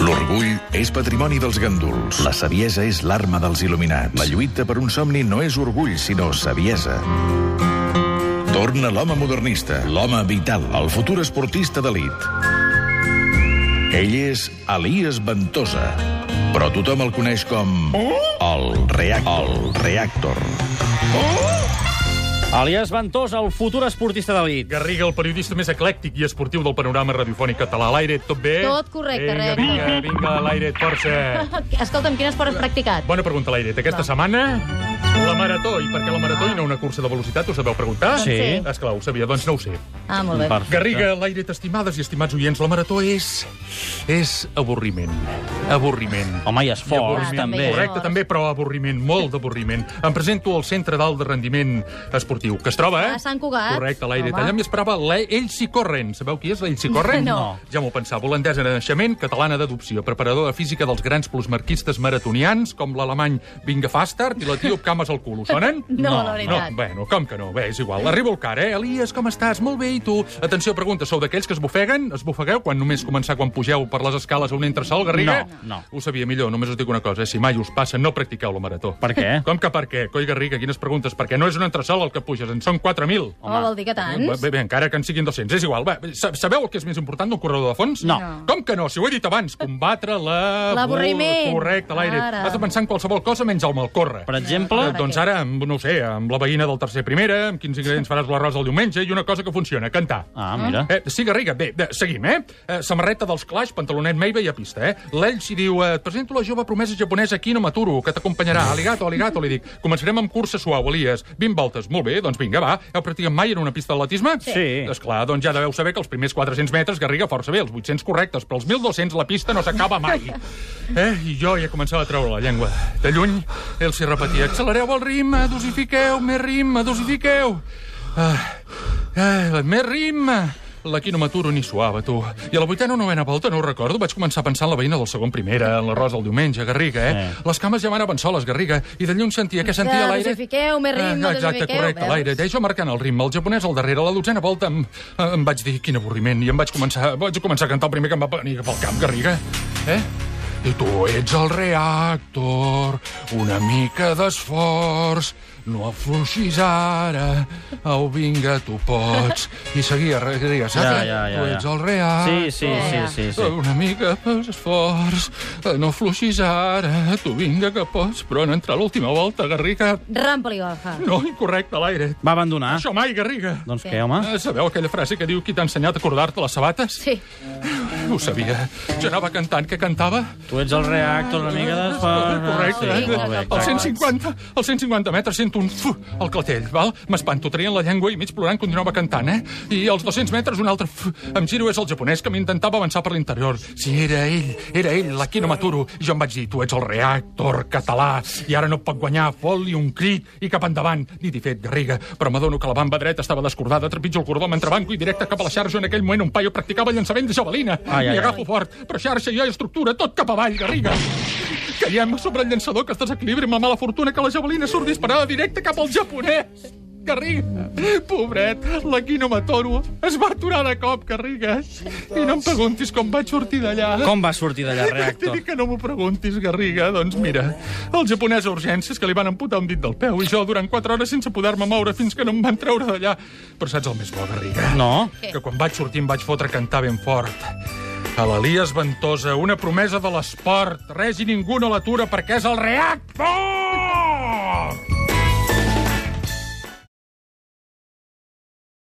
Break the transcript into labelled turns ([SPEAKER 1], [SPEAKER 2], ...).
[SPEAKER 1] L'orgull és patrimoni dels ganduls. La saviesa és l'arma dels il·luminats. La lluita per un somni no és orgull, sinó saviesa. Torna l'home modernista, l'home vital, el futur esportista d'elit. Ell és Elias Ventosa, però tothom el coneix com... El Reactor. El Reactor.
[SPEAKER 2] Elias Ventós, el futur esportista d'elit.
[SPEAKER 3] Garriga, el periodista més eclèctic i esportiu del panorama radiofònic català. A l'aire, tot bé?
[SPEAKER 4] Tot correcte,
[SPEAKER 3] vinga,
[SPEAKER 4] recte.
[SPEAKER 3] Vinga, vinga, vinga, a l'aire, força.
[SPEAKER 4] Escolta'm, quin esport has practicat?
[SPEAKER 3] Bona pregunta, a l'aire. Aquesta setmana, la marató. I per què la marató i no una cursa de velocitat? Us la veu preguntar?
[SPEAKER 2] Sí.
[SPEAKER 3] Esclar, ho sabia, doncs no ho sé.
[SPEAKER 4] Ah, molt bé.
[SPEAKER 2] Perfecte.
[SPEAKER 3] Garriga, a l'aire, estimades i estimats oients, la marató és... és avorriment. Avorriment.
[SPEAKER 2] Home, i esforç,
[SPEAKER 4] Ah,
[SPEAKER 2] també.
[SPEAKER 4] també.
[SPEAKER 3] Correcte, també, però avorriment, molt d'avorriment. Em presento al Centre d'Alt de Rendiment Esportiu, que es troba... Eh?
[SPEAKER 4] A Sant Cugat.
[SPEAKER 3] Correcte, a l'aire
[SPEAKER 4] Home.
[SPEAKER 3] tallant. M'hi esperava l'E- Ells i Corren. Sabeu qui és l'Ells i Corren?
[SPEAKER 4] No.
[SPEAKER 3] Ja m'ho pensava. Holandesa de naixement, catalana d'adopció, preparadora física dels grans plusmarquistes maratonians, com l'alemany Vinga Fastard i l'etíop Cames al cul. Us sonen?
[SPEAKER 4] No, la veritat.
[SPEAKER 3] No, bueno, com que no? Bé, és igual. Arribo al car, eh? Elias, com estàs? Molt bé, i tu? Atenció, pregunta, sou d'aquells que es bufeguen? Es bufegueu quan només començar quan pugeu per les escales a un entresol, Garriga?
[SPEAKER 2] No, no.
[SPEAKER 3] Ho sabia millor, només us dic una cosa, eh? si mai us passa, no practiqueu la marató.
[SPEAKER 2] Per què?
[SPEAKER 3] Com que per què? Coi, Garriga, quines preguntes? Perquè no és un entresol el que puges, en són 4.000.
[SPEAKER 4] Oh, vol dir que
[SPEAKER 3] Bé,
[SPEAKER 4] tants?
[SPEAKER 3] bé, bé, encara que en siguin 200, és igual. Va, sa- sabeu el que és més important d'un corredor de fons?
[SPEAKER 2] No.
[SPEAKER 3] Com que no? Si ho he dit abans, combatre la...
[SPEAKER 4] L'avorriment.
[SPEAKER 3] Correcte, l'aire.
[SPEAKER 4] Ara.
[SPEAKER 3] Has de pensar en qualsevol cosa menys el malcórrer.
[SPEAKER 2] Per exemple...
[SPEAKER 3] Eh, doncs ara, amb, no ho sé, amb la veïna del tercer primera, amb quins ingredients faràs l'arròs el diumenge i una cosa que funciona, cantar.
[SPEAKER 2] Ah, mira.
[SPEAKER 3] Eh, sí, Garriga, bé, bé, seguim, eh? eh? Samarreta dels Clash, pantalonet Meiva i a pista, eh? L'ell s'hi diu, eh, et presento la jove promesa japonesa aquí, no m'aturo, que t'acompanyarà. Aligato, aligato, li dic. Començarem amb cursa suau, Elias. 20 voltes. Molt bé, doncs vinga, va. Heu practicat mai en una pista d'atletisme?
[SPEAKER 2] Sí.
[SPEAKER 3] Esclar, doncs ja deveu saber que els primers 400 metres Garriga força bé, els 800 correctes, però els 1.200 la pista no s'acaba mai. Eh? I jo ja començava a treure la llengua. De lluny, ell s'hi repetia, accelereu el ritme, dosifiqueu, més ritme, dosifiqueu. Ah, ah, més ritme. L'aquí no m'aturo ni suava, tu. I a la vuitena o novena volta, no ho recordo, vaig començar a pensar en la veïna del segon primera, en l'arròs del diumenge, Garriga, eh?
[SPEAKER 2] Eh.
[SPEAKER 3] Les cames ja m'anaven soles, Garriga, i de lluny sentia que sentia
[SPEAKER 4] Que
[SPEAKER 3] l'aire...
[SPEAKER 4] dosifiqueu, més ritme,
[SPEAKER 3] Ah, Exacte,
[SPEAKER 4] dosifiqueu,
[SPEAKER 3] correcte,
[SPEAKER 4] veus?
[SPEAKER 3] l'aire. Deia jo marcant el ritme, el japonès al darrere, a la dotzena volta em, em vaig dir quin avorriment i em vaig començar, vaig començar a cantar el primer que em va venir cap al cap, Garriga. Eh? I tu ets el reactor, una mica d'esforç, no afluixis ara, au, vinga, tu pots. I seguia, Garriga, saps?
[SPEAKER 2] Ja, ja, ja,
[SPEAKER 3] Tu
[SPEAKER 2] ja.
[SPEAKER 3] ets el reactor.
[SPEAKER 2] Sí, sí, sí, sí, sí.
[SPEAKER 3] Una mica d'esforç, no afluixis ara, tu vinga que pots, però en entrar l'última volta, Garriga,
[SPEAKER 4] Rampa-li, Golfa.
[SPEAKER 3] no, incorrecte, a l'aire.
[SPEAKER 2] Va abandonar.
[SPEAKER 3] Això mai, Garriga.
[SPEAKER 2] Doncs
[SPEAKER 4] Sí.
[SPEAKER 2] què, home?
[SPEAKER 3] Eh, Sabeu aquella frase que diu qui t'ha ensenyat a cordar-te les sabates?
[SPEAKER 4] Sí.
[SPEAKER 3] Ho sabia. Jo anava cantant, que cantava?
[SPEAKER 2] Tu ets el reactor, una mica d'esforç.
[SPEAKER 3] Ah. Correcte.
[SPEAKER 2] Sí,
[SPEAKER 3] eh?
[SPEAKER 2] molt bé,
[SPEAKER 3] Al
[SPEAKER 2] exacte.
[SPEAKER 3] 150, al 150 metres sento un fu al clatell, val? M'espanto, traient la llengua i mig plorant continuava cantant, eh? I als 200 metres un altre fu. Em giro, és el japonès que m'intentava avançar per l'interior. Si era ell, era ell, l'aquí no m'aturo. I jo em vaig dir, tu ets el reactor català i ara no et pot guanyar, fot-li un crit i cap endavant. Dit i fet, Garriga, però m'adono que la bamba dreta estava descordada, trepitjo el cordó m'entrebanco i directe cap a la xarxa. En aquell moment un paio practicava llançament de javelina.
[SPEAKER 2] Ai, ai, ai.
[SPEAKER 3] I agafo fort, però xarxa i estructura, tot cap avall, Garriga. Caiem sobre el llançador que es desequilibri amb la mala fortuna que la javelina surt disparada directe cap al japonès. Garriga, pobret, l'Aquino Matoro es va aturar de cop, Garriga. I no em preguntis com vaig sortir d'allà.
[SPEAKER 2] Com va sortir d'allà,
[SPEAKER 3] T'he
[SPEAKER 2] reactor?
[SPEAKER 3] dit que no m'ho preguntis, Garriga. Doncs mira, el japonès a urgències que li van amputar un dit del peu i jo durant 4 hores sense poder-me moure fins que no em van treure d'allà. Però saps el més bo, Garriga?
[SPEAKER 2] No?
[SPEAKER 3] que quan vaig sortir em vaig fotre a cantar ben fort. A l'Elias Ventosa, una promesa de l'esport. Res i ningú no l'atura perquè és el reactor!